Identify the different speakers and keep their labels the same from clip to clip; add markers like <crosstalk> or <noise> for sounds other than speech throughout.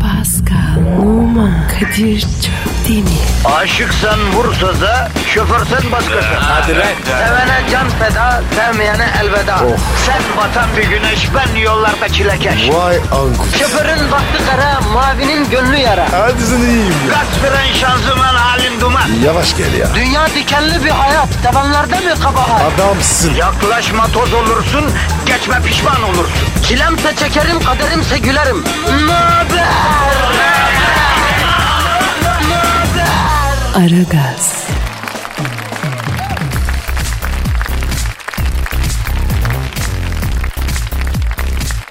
Speaker 1: Pascal, Oman, Kadir çok değil mi?
Speaker 2: Aşıksan vursa da şoförsen başkasın. Hadi
Speaker 3: lan.
Speaker 2: Sevene can feda, sevmeyene elveda. Sen batan bir güneş, ben yollarda çilekeş.
Speaker 3: Vay anku.
Speaker 2: Şoförün baktı kara, mavinin gönlü yara.
Speaker 3: Hadi sen iyiyim ya.
Speaker 2: Kasperen şanzıman halin duman.
Speaker 3: Yavaş gel ya.
Speaker 2: Dünya dikenli bir hayat, sevenlerde mi kabahar?
Speaker 3: Adamsın.
Speaker 2: Yaklaşma toz olursun, geçme pişman olursun. Çilemse çekerim, kaderimse gülerim. Möber!
Speaker 1: Aragaz,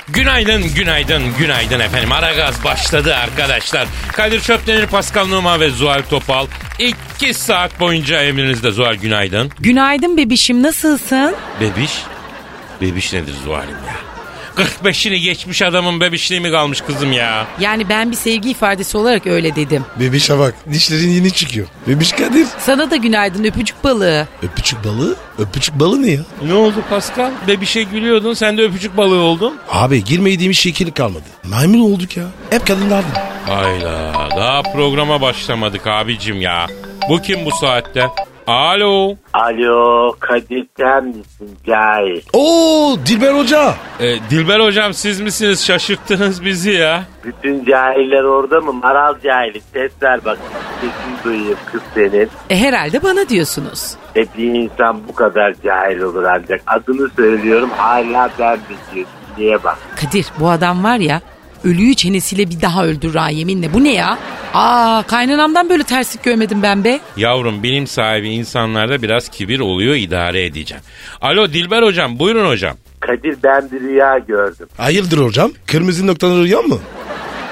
Speaker 4: Günaydın, günaydın, günaydın efendim. Aragaz başladı arkadaşlar. Kadir Çöptenir, Pascal Numa ve Zuhal Topal. İki saat boyunca emrinizde Zuhal günaydın.
Speaker 5: Günaydın bebişim nasılsın?
Speaker 4: Bebiş, bebiş nedir Zuhal'im ya? 45'ini geçmiş adamın bebişliği mi kalmış kızım ya?
Speaker 5: Yani ben bir sevgi ifadesi olarak öyle dedim.
Speaker 3: Bebişe bak. Dişlerin yeni çıkıyor. Bebiş Kadir.
Speaker 5: Sana da günaydın öpücük balığı.
Speaker 3: Öpücük balığı. Öpücük balığı ne ya?
Speaker 4: Ne oldu Pascal? Bebişe gülüyordun, sen de öpücük balığı oldun.
Speaker 3: Abi girmediğimiz şekil kalmadı. Maymun olduk ya. Hep kadınlardı.
Speaker 4: Hayda, daha programa başlamadık abicim ya. Bu kim bu saatte? Alo.
Speaker 6: Alo Kadir sen misin Cahil?
Speaker 3: Oo Dilber Hoca.
Speaker 4: Ee, Dilber hocam siz misiniz? Şaşırttınız bizi ya.
Speaker 6: Bütün cahiller orada mı? Maral cahili ses ver bak. Sesini duyayım kız senin.
Speaker 5: E, herhalde bana diyorsunuz.
Speaker 6: E bir insan bu kadar cahil olur ancak. Adını söylüyorum hala ben biliyorum. Niye bak?
Speaker 5: Kadir bu adam var ya ölüyü çenesiyle bir daha öldürür ha yeminle. Bu ne ya? Aa kaynanamdan böyle terslik görmedim ben be.
Speaker 4: Yavrum bilim sahibi insanlarda biraz kibir oluyor idare edeceğim. Alo Dilber hocam buyurun hocam.
Speaker 6: Kadir ben bir rüya gördüm.
Speaker 3: Hayırdır hocam? Kırmızı noktalı rüya mı?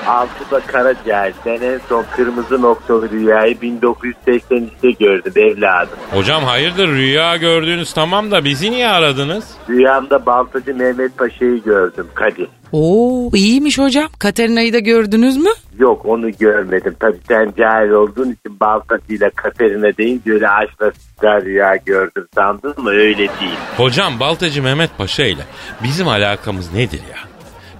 Speaker 6: Altıda kara cahil. Ben en son kırmızı noktalı rüyayı 1983'te gördüm evladım.
Speaker 4: Hocam hayırdır rüya gördüğünüz tamam da bizi niye aradınız?
Speaker 6: Rüyamda Baltacı Mehmet Paşa'yı gördüm Kadir.
Speaker 5: Oo iyiymiş hocam. Katerina'yı da gördünüz mü?
Speaker 6: Yok onu görmedim. Tabii sen cahil olduğun için Baltacı'yla Katerina deyince öyle aşkla sizler rüya gördüm sandın mı? Öyle değil.
Speaker 4: Hocam Baltacı Mehmet Paşa ile bizim alakamız nedir ya?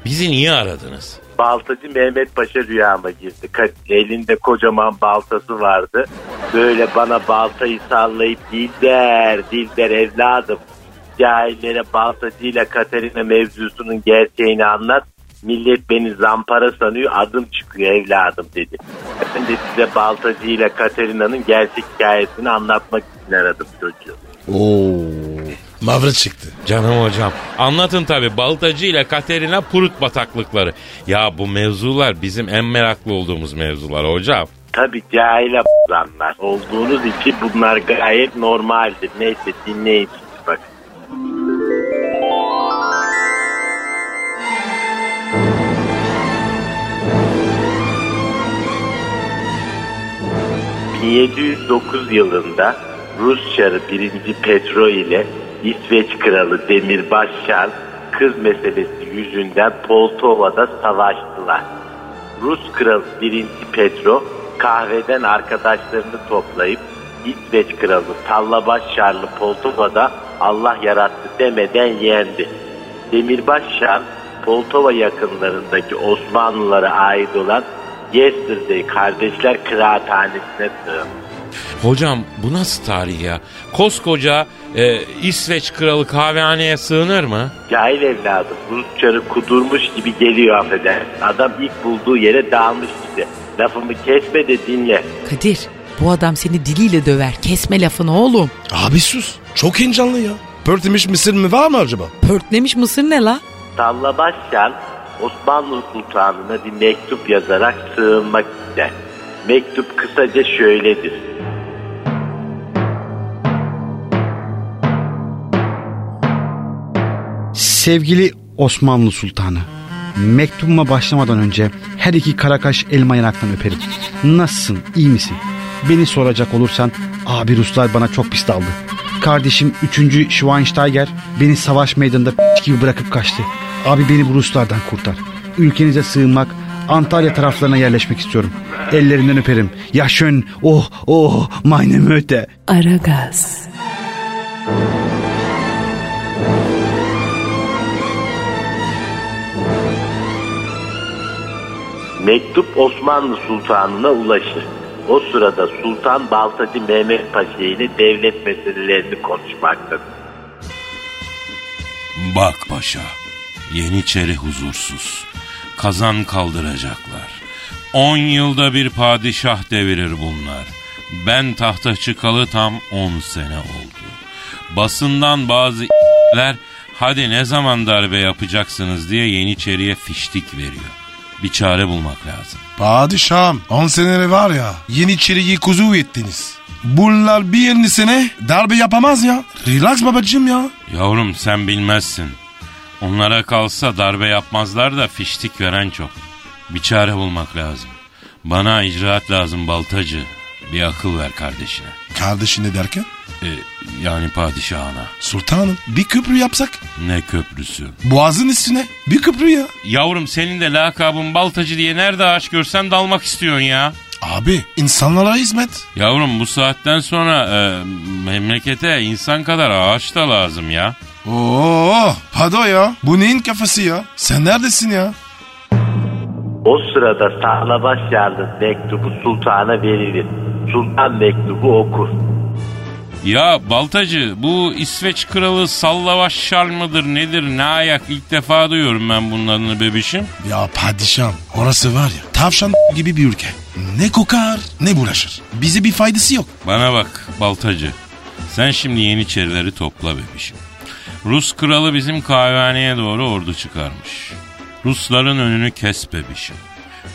Speaker 4: Bizi niye aradınız?
Speaker 6: Baltacı Mehmet Paşa rüyama girdi. Kadir elinde kocaman baltası vardı. Böyle bana baltayı sallayıp Dilber, Dilber evladım. Cahillere Baltacı'yla Katerina mevzusunun gerçeğini anlat. Millet beni zampara sanıyor adım çıkıyor evladım dedi. Ben de size Baltacı'yla Katerina'nın gerçek hikayesini anlatmak için aradım çocuğu.
Speaker 3: Oo. Mavra çıktı.
Speaker 4: Canım hocam anlatın tabi Baltacı ile Katerina Purut bataklıkları. Ya bu mevzular bizim en meraklı olduğumuz mevzular hocam.
Speaker 6: Tabii cahil a**lanlar olduğunuz için bunlar gayet normaldir. Neyse dinleyin şimdi bak. ...1709 yılında Rus çarı 1. Petro ile İsveç kralı Demirbaş Çar... ...kız meselesi yüzünden Poltova'da savaştılar. Rus kralı 1. Petro kahveden arkadaşlarını toplayıp İsveç kralı Sallabaş Şarlı Poltova'da Allah yarattı demeden yendi. Demirbaş Şar Poltova yakınlarındaki Osmanlılara ait olan Yesterday Kardeşler Kıraathanesi'ne sığındı.
Speaker 4: Hocam bu nasıl tarih ya? Koskoca e, İsveç kralı kahvehaneye sığınır mı?
Speaker 6: Cahil evladım Rus çarı kudurmuş gibi geliyor affedersin. Adam ilk bulduğu yere dağılmış işte. Lafımı kesme de dinle.
Speaker 5: Kadir bu adam seni diliyle döver. Kesme lafını oğlum.
Speaker 3: Abi sus. Çok heyecanlı ya. Pörtlemiş mısır mı var mı acaba?
Speaker 5: Pörtlemiş mısır ne la?
Speaker 6: Sallabaşyan Osmanlı Sultanı'na bir mektup yazarak sığınmak ister. Mektup kısaca şöyledir.
Speaker 7: Sevgili Osmanlı Sultanı, mektubuma başlamadan önce her iki karakaş elma yanaktan öperim. Nasılsın, iyi misin? Beni soracak olursan, abi Ruslar bana çok pis daldı. Kardeşim 3. Schweinsteiger beni savaş meydanında p- gibi bırakıp kaçtı. Abi beni bu Ruslardan kurtar. Ülkenize sığınmak, Antalya taraflarına yerleşmek istiyorum. Ellerinden öperim. Ya schön, oh, oh, meine Möte.
Speaker 1: Aragaz,
Speaker 6: Mektup Osmanlı Sultanı'na ulaşır. O sırada Sultan Baltacı Mehmet Paşa ile devlet meselelerini konuşmaktadır.
Speaker 4: Bak paşa, Yeniçeri huzursuz. Kazan kaldıracaklar. On yılda bir padişah devirir bunlar. Ben tahta çıkalı tam on sene oldu. Basından bazı ler hadi ne zaman darbe yapacaksınız diye Yeniçeri'ye fiştik veriyor. Bir çare bulmak lazım.
Speaker 3: Padişahım 10 senere var ya Yeniçeri'yi kuzu ettiniz. Bunlar bir yeni sene darbe yapamaz ya. Relax babacığım ya.
Speaker 4: Yavrum sen bilmezsin. Onlara kalsa darbe yapmazlar da fiştik veren çok. Bir çare bulmak lazım. Bana icraat lazım baltacı. Bir akıl ver kardeşine.
Speaker 3: Kardeşini derken
Speaker 4: Ee, yani padişahına.
Speaker 3: sultanım bir köprü yapsak
Speaker 4: Ne köprüsü.
Speaker 3: boğazın üstüne bir köprü ya.
Speaker 4: Yavrum senin de lakabın baltacı diye nerede ağaç görsem dalmak istiyorsun ya.
Speaker 3: Abi insanlara hizmet.
Speaker 4: Yavrum bu saatten sonra e, memlekete insan kadar ağaç da lazım ya.
Speaker 3: Oo Pado ya bu neyin kafası ya? Sen neredesin ya?
Speaker 6: O sırada Sahlabaş Yarlı mektubu sultana verilir. Sultan mektubu okur.
Speaker 4: Ya Baltacı bu İsveç kralı Sallavaş Şarl mıdır nedir ne ayak ilk defa duyuyorum ben bunun adını bebişim.
Speaker 3: Ya padişahım orası var ya tavşan gibi bir ülke. Ne kokar ne bulaşır. Bize bir faydası yok.
Speaker 4: Bana bak Baltacı sen şimdi Yeniçerileri topla bebişim. Rus kralı bizim kahvehaneye doğru ordu çıkarmış. Rusların önünü kes bebişim.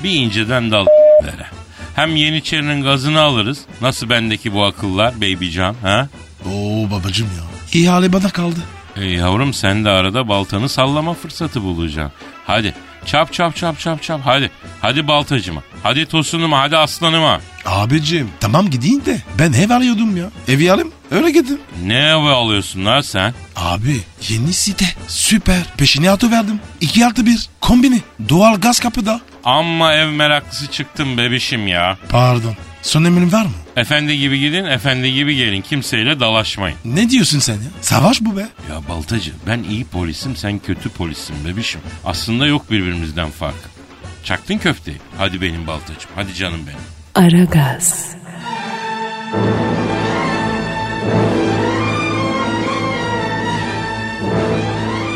Speaker 4: Bir inceden dal <laughs> vere. Hem Yeniçerinin gazını alırız. Nasıl bendeki bu akıllar babycan ha?
Speaker 3: Oo babacım ya. İhale bana kaldı.
Speaker 4: E yavrum sen de arada baltanı sallama fırsatı bulacaksın. Hadi çap çap çap çap çap hadi. Hadi baltacıma. Hadi tosunuma hadi aslanıma.
Speaker 3: Abicim tamam gideyim de ben ev arıyordum ya. Evi alayım öyle gittim.
Speaker 4: Ne eve alıyorsun lan sen?
Speaker 3: Abi yeni site süper. Peşini atı verdim. 2 artı 1 kombini doğal gaz kapıda.
Speaker 4: Amma ev meraklısı çıktım bebişim ya.
Speaker 3: Pardon son emrin var mı?
Speaker 4: Efendi gibi gidin efendi gibi gelin kimseyle dalaşmayın.
Speaker 3: Ne diyorsun sen ya? Savaş bu be.
Speaker 4: Ya baltacı ben iyi polisim sen kötü polissin bebişim. Aslında yok birbirimizden fark. Çaktın köfteyi. Hadi benim baltacım hadi canım benim.
Speaker 1: Aragaz,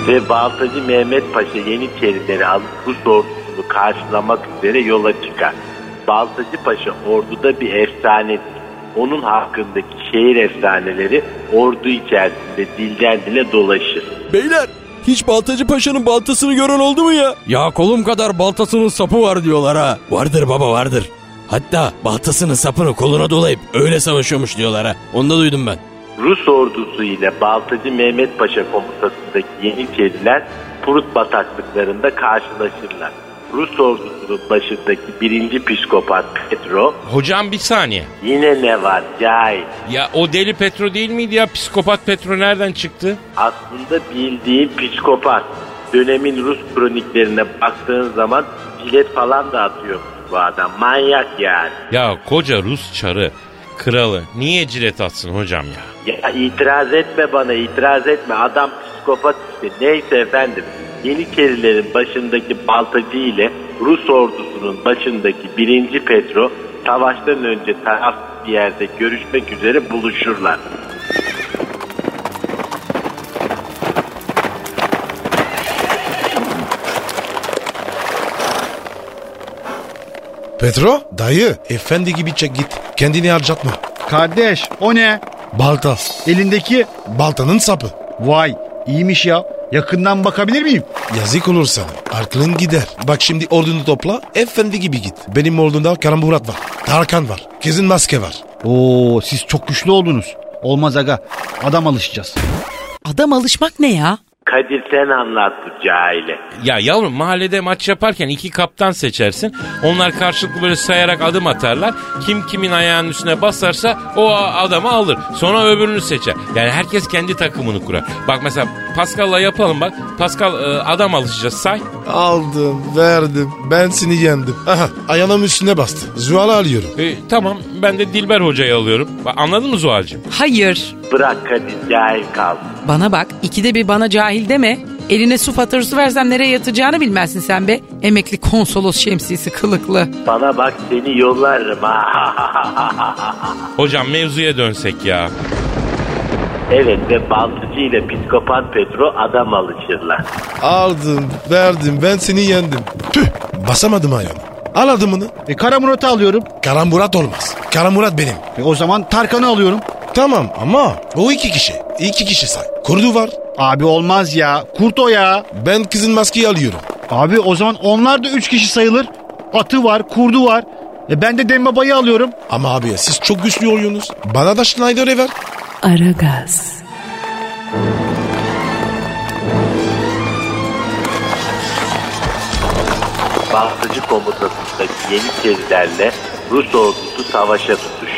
Speaker 6: Ve Baltacı Mehmet Paşa Yeniçerileri alıp Rus ordusunu karşılamak üzere yola çıkar. Baltacı Paşa orduda bir efsanedir. Onun hakkındaki şehir efsaneleri ordu içerisinde dilden dile dolaşır.
Speaker 8: Beyler hiç Baltacı Paşa'nın baltasını gören oldu mu ya? Ya kolum kadar baltasının sapı var diyorlar ha. Vardır baba vardır. Hatta baltasının sapını koluna dolayıp öyle savaşıyormuş diyorlar ha. Onu da duydum ben.
Speaker 6: Rus ordusu ile Baltacı Mehmet Paşa komutasındaki Yeniçeriler Prut bataklıklarında karşılaşırlar. Rus ordusunun başındaki birinci psikopat Petro
Speaker 4: Hocam bir saniye.
Speaker 6: yine ne var cahil
Speaker 4: Ya o deli Petro değil miydi ya? Psikopat Petro nereden çıktı?
Speaker 6: aslında bildiği psikopat. Dönemin Rus kroniklerine baktığın zaman jilet falan da atıyor bu adam. Manyak yani.
Speaker 4: Ya koca Rus çarı kralı niye cilet atsın hocam ya?
Speaker 6: Ya itiraz etme bana itiraz etme. Adam psikopat işte. Neyse efendim. Yeniçerilerin başındaki baltacı ile Rus ordusunun başındaki birinci Petro savaştan önce taraf bir yerde görüşmek üzere buluşurlar.
Speaker 3: Petro dayı efendi gibi çek git. Kendini harcatma.
Speaker 7: Kardeş o ne?
Speaker 3: Balta.
Speaker 7: Elindeki
Speaker 3: Baltanın sapı.
Speaker 7: vay iyiymiş ya. Yakından bakabilir miyim?
Speaker 3: Yazık olur sana. Aklın gider. Bak şimdi ordunu topla. Efendi gibi git. Benim ordumda Karamburat var. Tarkan var. Kesin maske var.
Speaker 7: Oo siz çok güçlü oldunuz. Olmaz aga. Adam alışacağız.
Speaker 5: Adam alışmak ne ya?
Speaker 6: Kadir sen anlat bu cahile.
Speaker 4: Ya yavrum mahallede maç yaparken iki kaptan seçersin. Onlar karşılıklı böyle sayarak adım atarlar. Kim kimin ayağının üstüne basarsa o a- adamı alır. Sonra öbürünü seçer. Yani herkes kendi takımını kurar. Bak mesela Pascal'la yapalım bak. Pascal e, adam alışacağız say.
Speaker 3: Aldım, verdim. Ben seni yendim. Aha, ayağım üstüne bastı. Zuhal'ı alıyorum.
Speaker 4: E, tamam ben de Dilber hocayı alıyorum. Bak, anladın mı Zuhal'cığım?
Speaker 5: Hayır.
Speaker 6: Bırak Kadir cahil kalsın.
Speaker 5: Bana bak ikide bir bana cahil deme. Eline su faturası versem nereye yatacağını bilmezsin sen be. Emekli konsolos şemsiyesi kılıklı.
Speaker 6: Bana bak seni yollarım ha.
Speaker 4: Hocam mevzuya dönsek ya.
Speaker 6: evet ve baltıcı ile psikopat Petro adam alışırlar.
Speaker 3: Aldım, verdim, ben seni yendim. Tüh, basamadım ayağımı. Al adımını.
Speaker 7: E Kara Murat'ı alıyorum.
Speaker 3: Karamurat olmaz. Karamurat benim.
Speaker 7: E o zaman Tarkan'ı alıyorum.
Speaker 3: Tamam ama o iki kişi. İki kişi say. Kurdu var.
Speaker 7: Abi olmaz ya. Kurt o ya.
Speaker 3: Ben kızın maskeyi alıyorum.
Speaker 7: Abi o zaman onlar da üç kişi sayılır. Atı var, kurdu var. E ben de Dembaba'yı alıyorum.
Speaker 3: Ama abi siz çok güçlü oynuyorsunuz. Bana da Schneider'e ver.
Speaker 1: Aragaz,
Speaker 6: Baltıcı komutasındaki Yeniçerilerle Rus ordusu savaşa tutuş.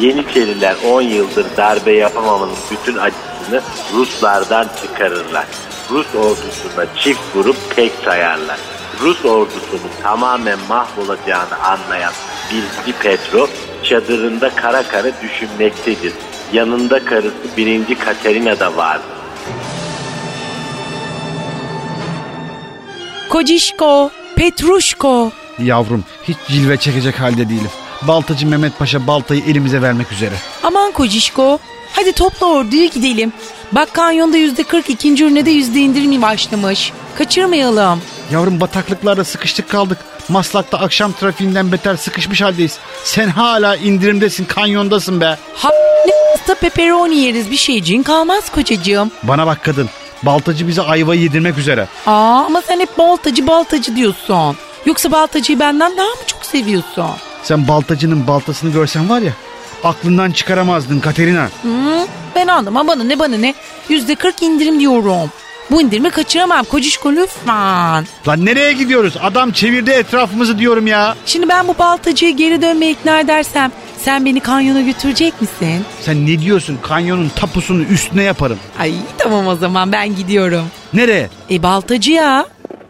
Speaker 6: Yeniçeriler 10 yıldır darbe yapamamanın bütün acısını Ruslardan çıkarırlar. Rus ordusuna çift grup tek sayarlar. Rus ordusunun tamamen mahvolacağını anlayan Bilgi Petro çadırında kara kara düşünmektedir. Yanında karısı 1. Katerina da vardır.
Speaker 5: Kocişko, Petruşko.
Speaker 7: Yavrum hiç cilve çekecek halde değilim. Baltacı Mehmet Paşa baltayı elimize vermek üzere.
Speaker 5: Aman kocişko. Hadi topla orduyu gidelim. Bak kanyonda yüzde 40 ikinci ürüne de yüzde indirim başlamış. Kaçırmayalım.
Speaker 7: Yavrum bataklıklarda sıkıştık kaldık. Maslak'ta akşam trafiğinden beter sıkışmış haldeyiz. Sen hala indirimdesin, kanyondasın be.
Speaker 5: Ha ne pasta pepperoni yeriz bir şeycin kalmaz kocacığım.
Speaker 7: Bana bak kadın. Baltacı bize ayvayı yedirmek üzere.
Speaker 5: Aa ama sen hep baltacı baltacı diyorsun. Yoksa baltacıyı benden daha mı çok seviyorsun?
Speaker 7: Sen baltacının baltasını görsen var ya aklından çıkaramazdın Katerina.
Speaker 5: Hı? Ben anlamam bana ne bana ne. Yüzde 40 indirim diyorum. Bu indirimi kaçıramam kocişko lütfen.
Speaker 7: Lan nereye gidiyoruz? Adam çevirdi etrafımızı diyorum ya.
Speaker 5: Şimdi ben bu baltacıyı geri dönmeye ikna edersem sen beni kanyona götürecek misin?
Speaker 7: Sen ne diyorsun? Kanyonun tapusunu üstüne yaparım.
Speaker 5: Ay tamam o zaman ben gidiyorum.
Speaker 7: Nereye?
Speaker 5: E baltacı ya.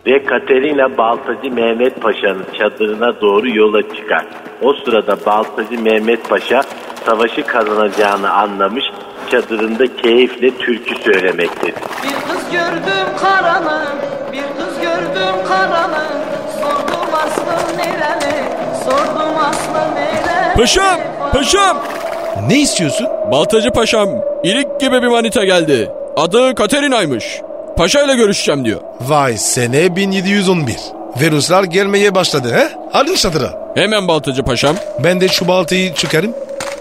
Speaker 6: ve Katerina Baltacı Mehmet Paşa'nın çadırına doğru yola çıkar. O sırada Baltacı Mehmet Paşa savaşı kazanacağını anlamış, çadırında keyifle türkü söylemektedir.
Speaker 9: Bir kız gördüm karanı, bir kız gördüm karanı. Sordum aslı nereli, sordum aslı nereli.
Speaker 8: Paşam, paşam.
Speaker 3: Ne istiyorsun?
Speaker 8: Baltacı paşam, ilik gibi bir manita geldi. Adı Katerina'ymış. Paşa ile görüşeceğim diyor.
Speaker 3: Vay sene 1711. Virüsler gelmeye başladı he? Alın çadıra.
Speaker 8: Hemen Baltacı paşam.
Speaker 3: Ben de şu baltayı çıkarım.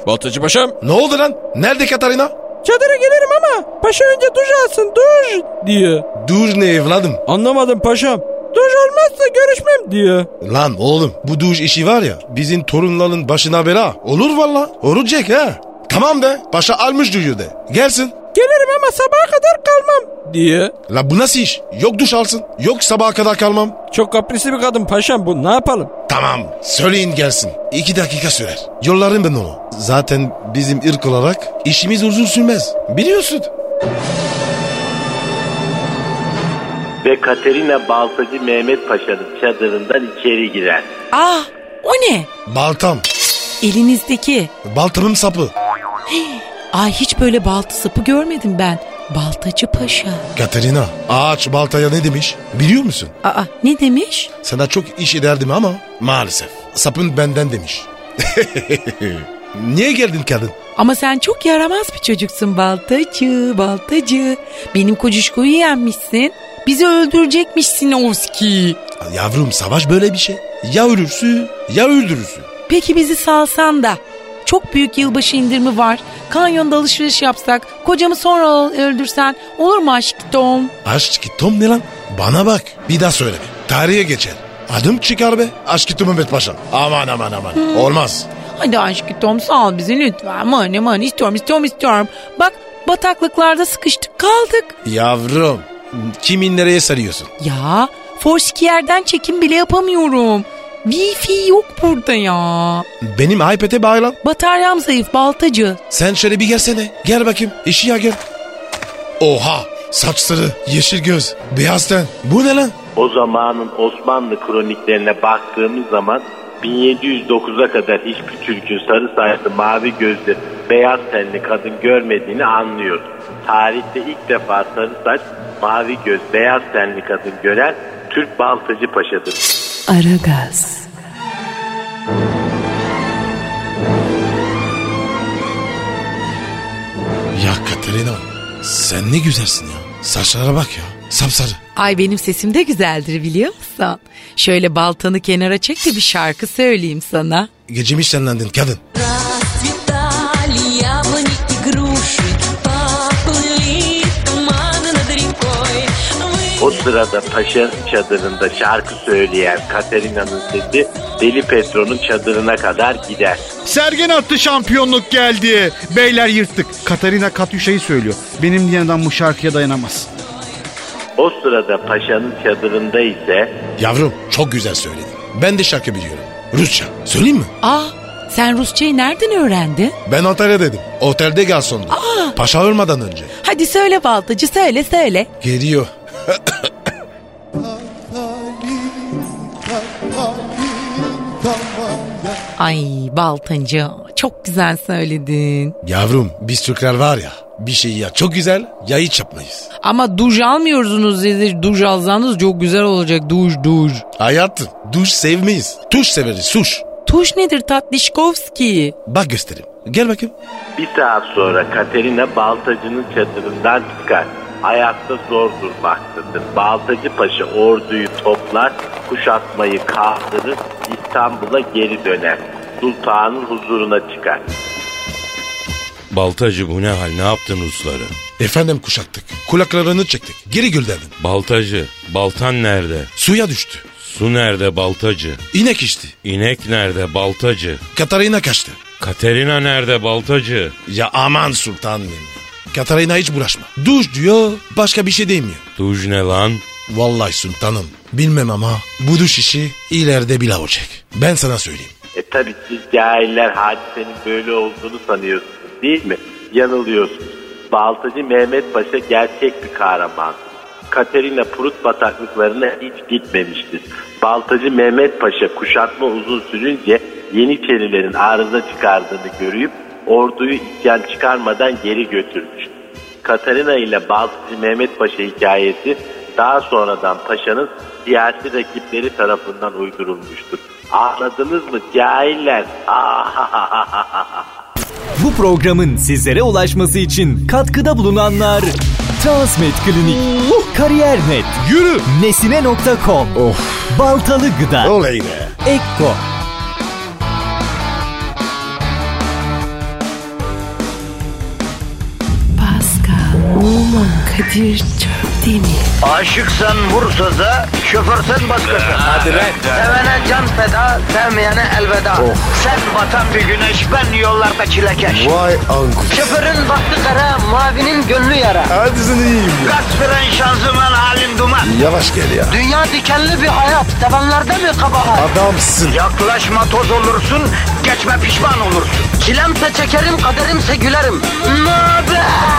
Speaker 8: Baltacı paşam.
Speaker 3: Ne oldu lan? Nerede Katarina?
Speaker 8: Çadıra gelirim ama paşa önce duş alsın duş diyor.
Speaker 3: Duş ne evladım?
Speaker 8: Anlamadım paşam. Duş olmazsa görüşmem diyor.
Speaker 3: Lan oğlum bu duş işi var ya bizim torunların başına bela. Olur valla. Olacak ha. Tamam de. Paşa almış duşu de. Gelsin.
Speaker 8: Gelirim ama sabaha kadar kalmam diyor.
Speaker 3: La bu nasıl iş? Yok duş alsın. Yok sabaha kadar kalmam.
Speaker 8: Çok kaprisli bir kadın paşam bu ne yapalım?
Speaker 3: Tamam. Söyleyin gelsin. İki dakika sürer. Yollarım ben onu. Zaten bizim ırk olarak işimiz uzun sürmez. Biliyorsun.
Speaker 6: Ve Katerina Baltacı Mehmet Paşa'nın çadırından içeri girer.
Speaker 5: Ah o ne?
Speaker 3: Baltam.
Speaker 5: Elinizdeki.
Speaker 3: Baltamın sapı.
Speaker 5: Ay hiç böyle baltı sapı görmedim ben. Baltacı paşa.
Speaker 3: Katerina. Ağaç baltaya ne demiş? Biliyor musun?
Speaker 5: Aa ne demiş?
Speaker 3: Sana çok iş ederdim ama maalesef. Sapın benden demiş. <laughs> Niye geldin kadın?
Speaker 5: Ama sen çok yaramaz bir çocuksun baltacı, baltacı. Benim kocuşkoyu yenmişsin. Bizi öldürecekmişsin Ovski.
Speaker 3: Yavrum savaş böyle bir şey. Ya ölürsün ya öldürürsün.
Speaker 5: Peki bizi salsan da. Çok büyük yılbaşı indirimi var. Kanyonda alışveriş yapsak, kocamı sonra al- öldürsen olur mu aşk Tom?
Speaker 3: Aşk Tom ne lan? Bana bak bir daha söyle. Tarihe geçer. Adım çıkar be. Aşk Tom Mehmet Paşa. Aman aman aman. Olmaz.
Speaker 5: Hadi aşk Tom sal bizi lütfen. Mani mani istiyorum istiyorum istiyorum. Bak bataklıklarda sıkıştık kaldık.
Speaker 3: Yavrum kimin nereye sarıyorsun?
Speaker 5: Ya Foursquare'den çekim bile yapamıyorum. Wi-Fi yok burada ya.
Speaker 3: Benim iPad'e bağlan.
Speaker 5: Bataryam zayıf baltacı.
Speaker 3: Sen şöyle bir gelsene. Gel bakayım. İşi ya gel. Oha. Saç sarı, yeşil göz, beyaz ten. Bu ne lan?
Speaker 6: O zamanın Osmanlı kroniklerine baktığımız zaman 1709'a kadar hiçbir Türk'ün sarı saçlı, mavi gözlü, beyaz tenli kadın görmediğini anlıyoruz. Tarihte ilk defa sarı saç, mavi göz, beyaz tenli kadın gören Türk Baltacı Paşa'dır.
Speaker 1: Aragaz.
Speaker 3: Ya Katerina sen ne güzelsin ya. Saçlara bak ya. Sapsarı.
Speaker 5: Ay benim sesim de güzeldir biliyor musun? Şöyle baltanı kenara çek de bir şarkı söyleyeyim sana.
Speaker 3: Gecemi şenlendin kadın.
Speaker 10: Цветали яблони и груши, поплыли туманы над рекой. Вы-
Speaker 6: O sırada Paşa çadırında şarkı söyleyen Katerina'nın sesi Deli Petro'nun çadırına kadar gider.
Speaker 7: Sergen attı şampiyonluk geldi. Beyler yırttık. Katarina Katyuşa'yı söylüyor. Benim diyen adam bu şarkıya dayanamaz.
Speaker 6: O sırada Paşa'nın çadırında ise
Speaker 3: Yavrum çok güzel söyledin. Ben de şarkı biliyorum. Rusça. Söyleyeyim mi?
Speaker 5: Aa sen Rusçayı nereden öğrendin?
Speaker 3: Ben otele dedim. Otelde garsondu. Paşa ölmeden önce.
Speaker 5: Hadi söyle baltacı söyle söyle.
Speaker 3: Geliyor.
Speaker 5: Ay baltacı çok güzel söyledin.
Speaker 3: Yavrum biz Türkler var ya bir şeyi ya çok güzel ya hiç yapmayız.
Speaker 5: Ama duş almıyorsunuz dedi. Duş alsanız çok güzel olacak. Duş duş.
Speaker 3: Hayatım duş sevmeyiz. Tuş severiz suş.
Speaker 5: Tuş nedir Tatlişkovski?
Speaker 3: Bak göstereyim. Gel bakayım.
Speaker 6: bir saat sonra Katerina Baltacı'nın çadırından çıkar. Hayatta zor durmaktadır. Baltacı Paşa orduyu toplar, kuşatmayı kaldırır, İstanbul'a geri döner. Sultanın huzuruna çıkar.
Speaker 4: Baltacı bu ne hal ne yaptın Rusları?
Speaker 3: Efendim kuşattık. Kulaklarını çektik. Geri güldürdün.
Speaker 4: Baltacı baltan nerede?
Speaker 3: Suya düştü.
Speaker 4: Su nerede baltacı?
Speaker 3: İnek içti.
Speaker 4: İnek nerede baltacı?
Speaker 3: Katarina kaçtı.
Speaker 4: Katerina nerede baltacı?
Speaker 3: Ya aman sultanım. benim. Katarina hiç bulaşma. Duş diyor başka bir şey demiyor.
Speaker 4: Duj ne lan?
Speaker 3: Vallahi sultanım bilmem ama bu duş işi ileride bile olacak. Ben sana söyleyeyim.
Speaker 6: E tabi siz cahiller hadisenin böyle olduğunu sanıyorsunuz değil mi? Yanılıyorsunuz. Baltacı Mehmet Paşa gerçek bir kahraman. Katerina Prut bataklıklarına hiç gitmemiştir. Baltacı Mehmet Paşa kuşatma uzun sürünce Yeniçerilerin arıza çıkardığını görüp orduyu isyan çıkarmadan geri götürmüş. Katerina ile Baltacı Mehmet Paşa hikayesi daha sonradan paşanın siyasi rakipleri tarafından uydurulmuştur. Anladınız mı cahiller?
Speaker 11: Bu programın sizlere ulaşması için katkıda bulunanlar Transmed Klinik, Kariyer.net, Yürü, Nesine.com, Baltalı Gıda,
Speaker 3: Oley be.
Speaker 11: Ekko,
Speaker 1: Pascal, Oman, Kadir çok değil mi?
Speaker 2: Aşıksan vursa da, şoförsen başkasın. Hadi
Speaker 6: lan.
Speaker 2: Sevene can feda, sevmeyene elveda.
Speaker 3: Oh.
Speaker 2: Sen batan bir güneş, ben yollarda çilekeş.
Speaker 3: Vay anku.
Speaker 2: Şoförün baktı kara, mavinin gönlü yara.
Speaker 3: Hadi sen iyiyim ya.
Speaker 2: Kasperen şanzıman halin duman.
Speaker 3: Yavaş gel ya.
Speaker 2: Dünya dikenli bir hayat, sevenlerde mi kabahar?
Speaker 3: Adamsın.
Speaker 2: Yaklaşma toz olursun, geçme pişman olursun. Çilemse çekerim, kaderimse gülerim. Möber!